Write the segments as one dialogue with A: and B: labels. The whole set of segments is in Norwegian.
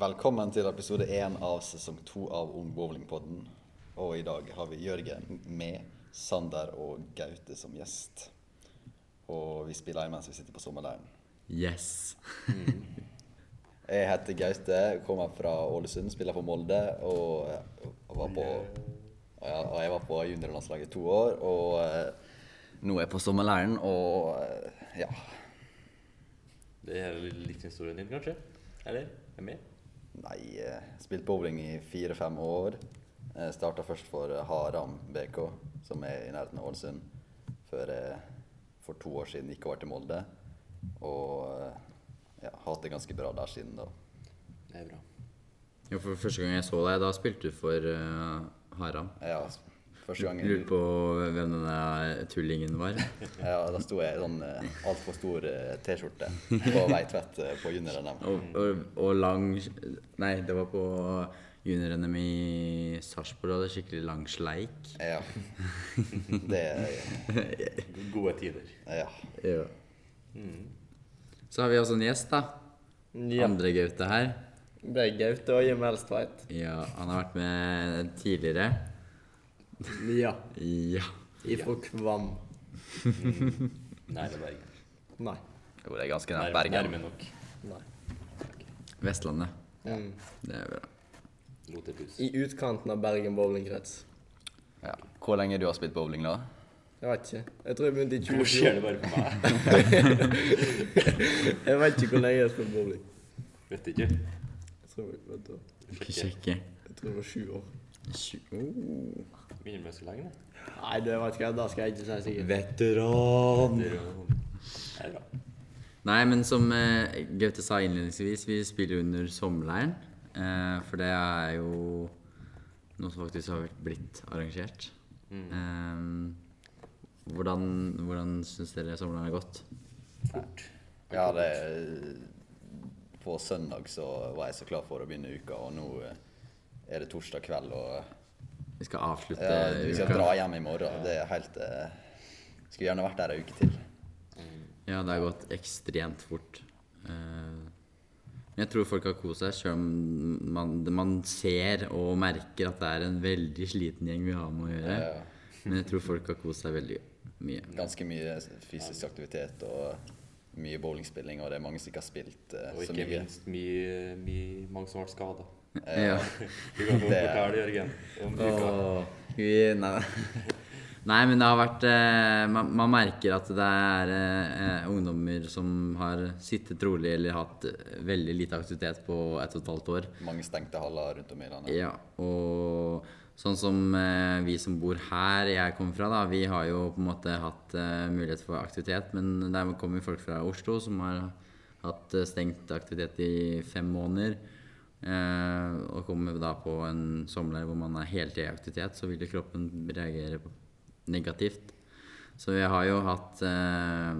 A: Velkommen til episode én av sesong to av Ung bowlingpodden. Og i dag har vi Jørgen med Sander og Gaute som gjest. Og vi spiller inn mens vi sitter på sommerleiren.
B: Yes.
A: Jeg heter Gaute, kommer fra Ålesund, spiller for Molde. Og, og, var på, og, ja, og jeg var på juniorlandslaget i to år. Og eh, nå er jeg på sommerleiren, og eh, ja.
C: Det er vel litt historien din, kanskje? Eller? Er med?
A: Nei, eh, spilt bowling i fire-fem år. Jeg starta først for eh, Haram BK, som er i nærheten av Ålesund. Før jeg for to år siden gikk over til Molde. Og eh, ja, hatt det ganske bra der siden da.
C: Det er bra.
B: Ja, for første gang jeg så deg, da spilte du for eh, Haram.
A: Ja, s- første gangen
B: Lurer på hvem denne tullingen var.
A: ja, Da sto jeg i sånn eh, altfor stor eh, T-skjorte på vei tvett eh, på junior-NM.
B: Og, og, og lang Nei, det var på junior-NM i Sarpsborg. Du hadde skikkelig lang sleik.
A: Ja. Det eh,
C: Gode tider.
A: Ja.
B: Ja. Mm. Så har vi også en gjest, da. Andre Gaute her.
D: Det er Gaute og Jim Elstveit.
B: Ja, han har vært med tidligere.
D: Ja.
B: Ja.
D: Ifra Kvam.
C: Nei, det er Bergen.
D: Nei.
A: Jo, det er ganske
C: Nær-
A: nær Bergen.
C: Nærme nok.
D: Nei.
B: Vestlandet.
D: Mm.
B: Det er bra.
C: Lotepus.
D: I utkanten av Bergen bowlingkrets.
A: Ja. Hvor lenge du har spilt bowling, da?
D: Jeg vet ikke. Jeg tror jeg begynte i
C: Hvorfor skjer
D: 2014.
C: det bare på meg?
D: Jeg vet ikke hvor lenge jeg har spilt bowling.
C: Vet ikke.
D: Jeg tror, vet du, hva?
B: Skal sjekke.
D: jeg tror det var sju år.
B: Tju- Oh.
C: Begynner med så lenge, det.
D: Nei, det vet ikke jeg. Da skal jeg ikke si sikkert.
B: Veteran!
C: Det er jo- Det er bra.
B: Nei, men som eh, Gaute sa innledningsvis, vi spiller jo under sommerleiren. Eh, for det er jo noe som faktisk har vært- blitt arrangert.
A: Mm.
B: Eh, hvordan hvordan syns dere sommerleiren har gått?
C: Fort.
A: Ja, det På søndag så var jeg så klar for å begynne uka, og nå eh, er det torsdag kveld, og
B: Vi skal avslutte
A: ja, vi skal
B: uka.
A: dra hjem i morgen. Det er helt eh, Skulle gjerne vært der ei uke til.
B: Ja, det har gått ekstremt fort. Eh, men jeg tror folk har kost seg, sjøl om man, man ser og merker at det er en veldig sliten gjeng vi har med å gjøre.
A: Ja.
B: Men jeg tror folk har kost seg veldig mye.
A: Eh, Ganske mye fysisk aktivitet og mye bowlingspilling, og det er mange som ikke har spilt eh,
C: Og
A: så
C: ikke
A: mye.
C: minst mye, mye mange som ble skada.
B: Ja.
C: Du kan jo
A: Det er-
C: fortelle, Jørgen, om uka.
B: Åh, vi, nei. nei, men det har vært eh, man, man merker at det er eh, ungdommer som har sittet rolig eller hatt eh, veldig lite aktivitet på ett og et halvt år.
A: Mange stengte haller rundt om i landet.
B: Ja, og sånn som eh, vi som bor her jeg kommer fra, da, vi har jo på en måte hatt eh, mulighet for aktivitet, men der kommer folk fra Oslo som har hatt eh, stengt aktivitet i fem måneder. Eh, og kommer da på en sommerleir hvor man er helt i aktivitet, så vil jo kroppen reagere på- negativt. Så vi har jo hatt eh,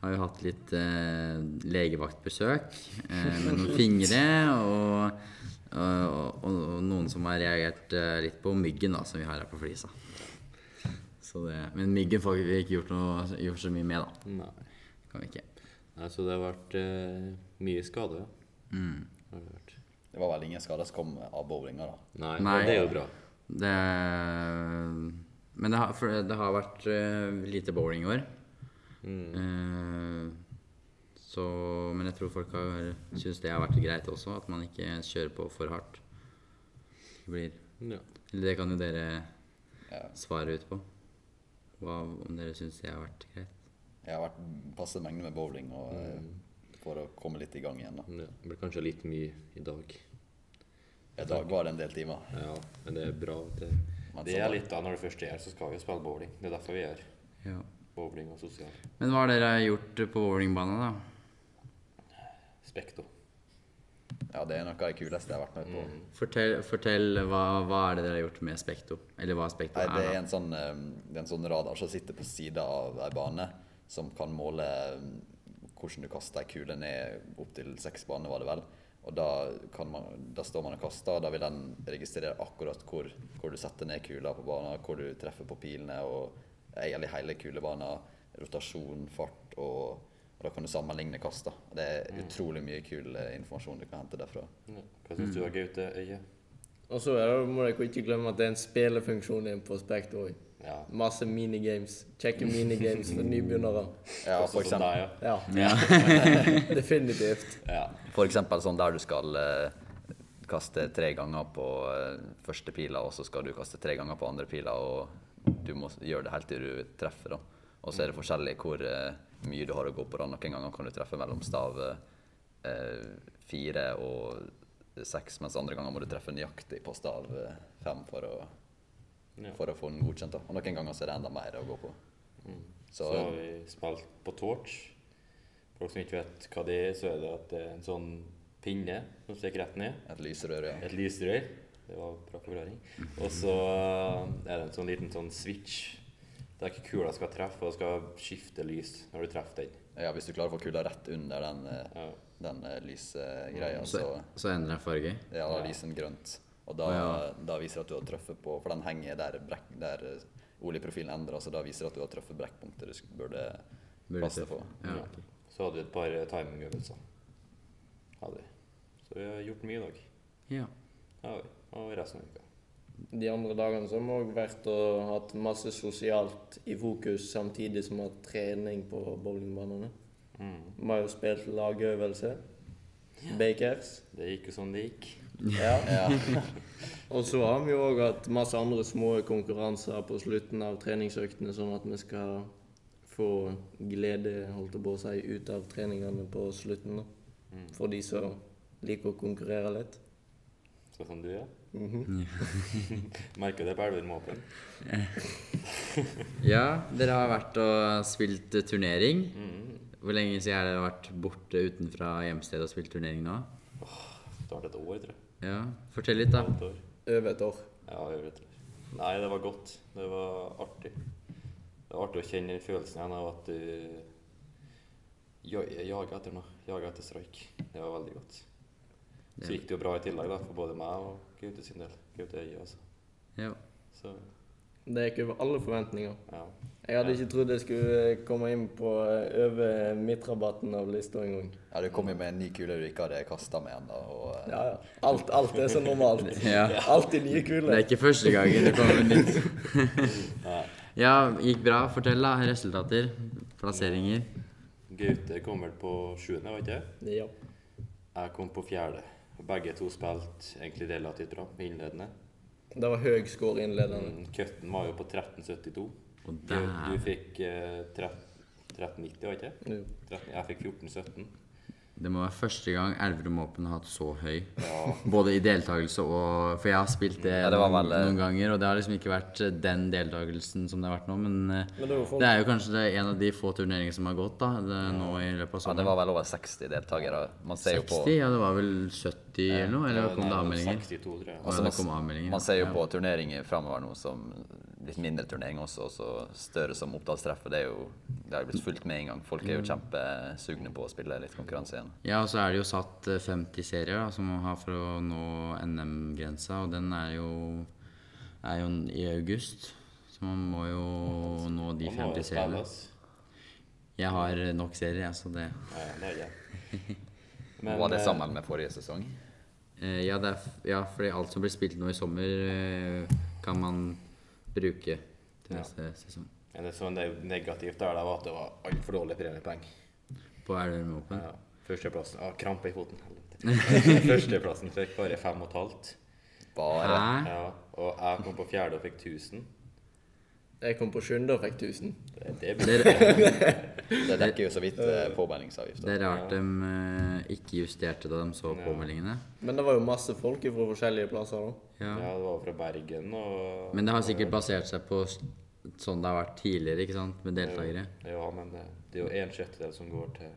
B: har jo hatt litt eh, legevaktbesøk eh, med noen fingre, og, og, og, og noen som har reagert eh, litt på myggen da, som vi har her på flisa. Så det, men myggen får vi ikke gjort, noe, gjort så mye med, da.
C: Nei.
B: Kan vi ikke.
C: Nei, så det har vært eh, mye skade, ja. Har det vært.
A: Det var vel ingen skader som kom av bowlinga, da.
C: Nei,
B: Nei.
C: og det er jo bra.
B: Det, men det har, for det har vært eh, lite bowling i år. Eh, så, men jeg tror folk har syns det har vært greit også, at man ikke kjører på for hardt. Det blir
C: Ja.
B: Eller det kan jo dere
A: Ja.
B: svare ut på. Hva, om dere syns det har vært greit.
A: Jeg har vært passe mengde med bowling og, eh,
C: Mm.
A: for å komme litt i gang igjen. da.
C: Ja, Det blir kanskje litt mye i dag.
A: I dag var det en del timer.
C: Ja, men det er bra. Det,
A: Men
C: det
A: sånn
C: er
A: er
C: litt da, når det først er her, så skal vi jo spille bowling. Det er derfor vi er her.
B: Ja.
C: Bowling og sosial.
B: Men hva har dere gjort på bowlingbanen, da?
C: Spekto.
A: Ja, det er noe av det kuleste jeg har vært med på.
B: Fortell, fortell hva, hva er det dere har gjort med Spekto? Eller hva Spekto
A: Nei, det er
B: er,
A: en sånn, eh, det er en sånn radar som sitter på sida av ei bane, som kan måle eh, hvordan du kaster ei kule ned opptil seks baner, var det vel. Og da, kan man, da står man og kaster, og da vil den registrere akkurat hvor, hvor du setter ned kula på banen, hvor du treffer på pilene, og egentlig hele kulebanen, rotasjon, fart og, og For da kan du sammenligne kast. da. Og Det er utrolig mye kul eh, informasjon du kan hente derfra.
C: Ja. Hva syns du
A: Mm.
C: da, Gaute Øye?
D: Og så er det, må dere ikke glemme at det er en spillefunksjon inn på Spekt òg.
C: Ja.
D: Masse minigames. Kjekke minigames for nybegynnere.
A: Ja,
C: Også sånn
A: for
C: som
A: eksempel,
C: deg,
D: Ja,
B: Ja.
D: definitivt.
C: ja. ja.
A: for eksempel sånn der du skal eh, kaste tre ganger på eh, første pila, og så skal du kaste tre ganger på andre pila, og du må s- gjøre det helt til du treffer. da. Og så er det forskjellig hvor eh, mye du har å gå på. da. Noen ganger kan du treffe mellom stav eh, eh, fire og seks, mens andre ganger må du treffe nøyaktig på stav eh, fem for å,
C: Ja.
A: for å få den godkjent. da. Og noen ganger så er det enda mer å gå på.
C: Mm. Så har vi spilt på torch. For dere som ikke vet hva det er, så er det at det er en sånn pinne som stikker rett ned.
A: Et lyserør, ja.
C: Et lysrør. Det var bra forklaring. Og så er det en sånn liten sånn switch der ikke kula skal treffe, og skal skifte lys når du treffer den.
A: ja. Hvis du klarer å få kula rett under den, eh,
C: Ja.
A: den eh, lysgreia,
B: Så,
A: så
B: så endrer jeg farge.
A: ja, da lyser den grønt. Og da,
B: Ja.
A: da viser det at du har truffet på For den henger der, brekk, der eh, oljeprofilen endrer, så da viser det at du har truffet brekkpunktet du sk- burde,
B: Burde
A: passe
B: treffe.
A: på.
B: Ja.
C: Ja. Så hadde vi et par timingøvelser. Hadde vi. Så vi har gjort mye i dag.
B: ja.
C: Ja, vi. Og resten av uka.
D: De andre dagene så har vi også vært og hatt masse sosialt i fokus, samtidig som vi har hatt trening på bowlingbanene.
C: Mm.
D: Vi har jo spilt lagøvelse. Bakers.
C: Det gikk jo som det gikk.
D: Ja. og så har vi jo òg hatt masse andre små konkurranser på slutten av treningsøktene, sånn at vi skal få glede, holdt jeg på å si, ut av treningene på slutten. da.
C: Mm.
D: For de som liker å konkurrere litt.
C: Sånn som du, ja.
D: Mhm.
C: Merker det på Elvermåpen.
B: ja, dere har vært og spilt eh, turnering.
C: Mm.
B: Hvor lenge siden har dere vært borte utenfra hjemstedet og spilt turnering nå?
C: Snart et år, tror jeg.
B: Ja, Fortell litt, da.
C: Halvt år.
D: Over et år.
C: Ja, over et år. Nei, det var godt. Det var artig. Det var artig å kjenne den følelsen igjen av at du ja- jager etter noe. Jager etter streik. Det var veldig godt. Så
B: Ja.
C: gikk det jo bra i tillegg, da, for både meg og Gaute sin del. Gaute Øye, altså.
B: Ja.
C: Så
D: Det gikk over alle forventninger.
C: ja.
D: Jeg hadde ikke trodd jeg skulle komme inn på eh, over midtrabatten av lista engang.
A: Ja, Du kom jo med en ny kule du ikke hadde kasta med ennå. og, eh,
D: Ja, ja. Alt, alt er så normalt.
B: ja.
D: Alltid nye
B: Det
D: kuler.
B: er ikke første gangen det kommer nytt.
C: Nei.
B: Ja, gikk bra. Fortell, da. Resultater. Plasseringer.
C: Gaute kom vel på sjuende, var ikke det?
D: Ja.
C: Jeg kom på fjerde. Begge to spilte egentlig relativt bra innledende.
D: Det var høy score innledende.
C: Mm, Cutten var jo på 13,72.
B: Og
C: Du, du
B: der
C: fikk eh, tret- 13,90, var ikke det?
D: Ja.
C: 13, jeg fikk 14,17.
B: Det må være første gang Elverum Åpen har hatt så høy.
C: Ja.
B: Både i deltakelse og For jeg har spilt det,
A: Ja, det var
B: noen,
A: vel, eh,
B: noen ganger, og det har liksom ikke vært eh, den deltakelsen som det har vært nå, men eh,
D: Men det var folk-
B: det er jo kanskje det en av de få turneringene som har gått da, det, nå i
A: Ja,
B: løpet av
A: det
B: sommeren.
A: var vel over 60 deltakere. Man ser jo
B: 60?
A: på
B: Ja, det var vel 70 eller noe? Eller kom det avmeldinger?
C: 62, tror jeg.
B: Altså,
A: man
B: det kom
A: s-
B: avmeldinger.
A: Man ser jo
B: ja.
A: på turneringer fremover nå som litt mindre turnering også, og så større som opptakstreff. og Det er jo det har jo blitt fulgt med en gang. Folk
D: Mm.
A: er jo kjempesugne på å spille litt konkurranse igjen.
B: Ja, og så er det jo satt eh, 50 serier da, som man har for å nå NM-grensa, og den er jo, er jo i august. Så man må jo nå de
C: Han må jo
B: 50
C: spille,
B: seriene.
C: ass.
B: Jeg har eh, nok serier, jeg, så det
C: Nei, det er det.
A: Var det
C: eh,
A: sammen med forrige sesong?
B: Eh, ja, det er, f- ja, fordi alt som blir spilt nå i sommer, eh, kan man bruke til
C: Ja.
B: neste sesong.
C: Men det som er negativt, der, det var at det var altfor dårlig premiepenger.
B: På Elverum Open.
C: Ja. Førsteplassen ah, Krampe i foten. helvete. Førsteplassen fikk bare fem og et halvt.
A: Bare
B: Hæ?
C: Ja, og jeg kom på fjerde og fikk 1000.
D: Jeg kom på sjuende og fikk 1000.
C: Det, det burde
B: Det,
A: Det dekker jo så vidt eh, påmeldingsavgifta.
B: det er rart de eh, ikke justerte da de så
C: Ja.
B: påmeldingene.
D: Men det var jo masse folk fra forskjellige plasser. da.
B: Ja.
C: Ja, det var fra Bergen og
B: Men det har sikkert basert seg på s- sånn det har vært tidligere, ikke sant, med deltakere.
C: Ja, men det, det er jo en sjettedel som går til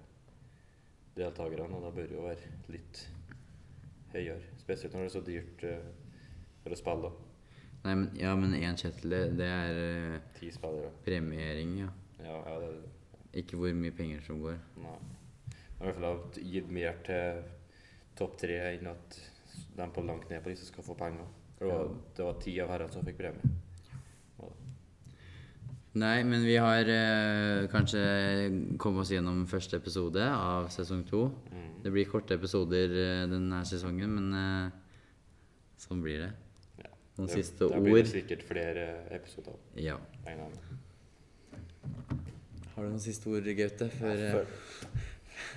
C: deltakerne, og da bør det jo være litt høyere. Spesielt når det er så dyrt eh, for å spille. da.
B: Nei, men, ja, men en kjettel, det er eh,
C: Ti spillere.
B: premiering, ja.
C: Ja, ja, det
B: Ikke hvor mye penger som går.
C: Nei. Men i hvert fall har gitt mer til topp tre enn at de på langt ned på lista skal få penger. For det var- det var ti av herrene som fikk premie.
B: Nei, men vi har eh, kanskje kommet oss gjennom første episode av sesong to.
C: Mm.
B: Det blir korte episoder eh, denne sesongen, men eh, sånn blir det.
C: Ja.
B: Noen
C: Det-
B: siste
C: Da blir det
B: ord?
C: sikkert flere episoder.
B: Ja.
C: regner jeg med.
B: Har du noen siste ord, Gaute? Før, eh,
A: Følg-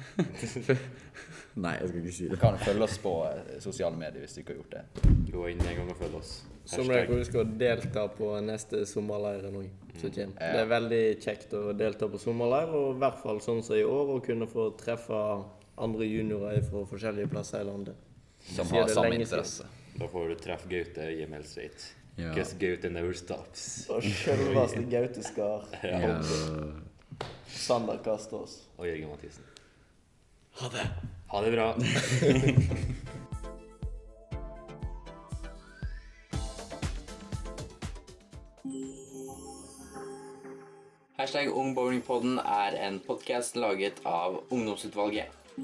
B: Nei, jeg skal ikke si
A: Du kan følge oss på eh, sosiale medier hvis du ikke har gjort det.
C: Gå inn en gang og følg oss.
D: Som dere kan huske å delta på neste sommerleir nå, som kommer.
A: Mm. Ja.
D: Det er veldig kjekt å delta på sommerleir, og i hvert fall sånn som i år, å kunne få treffe andre juniorer fra forskjellige plasser i landet.
A: Som
D: Sier
A: har
D: det
A: samme
D: lenge siden.
A: interesse.
C: Da får du treffe Gaute i Hjemelsveit.
B: Ja.
C: Because Gaute never stops.
D: Og selveste Gaute Skar.
B: ja.
D: Sander Kastås.
C: Og Jørgen Mathisen.
D: Ha det!
C: Ha det bra.
B: Hashtag Ungbowlingpodden er en podkast laget av Ungdomsutvalget.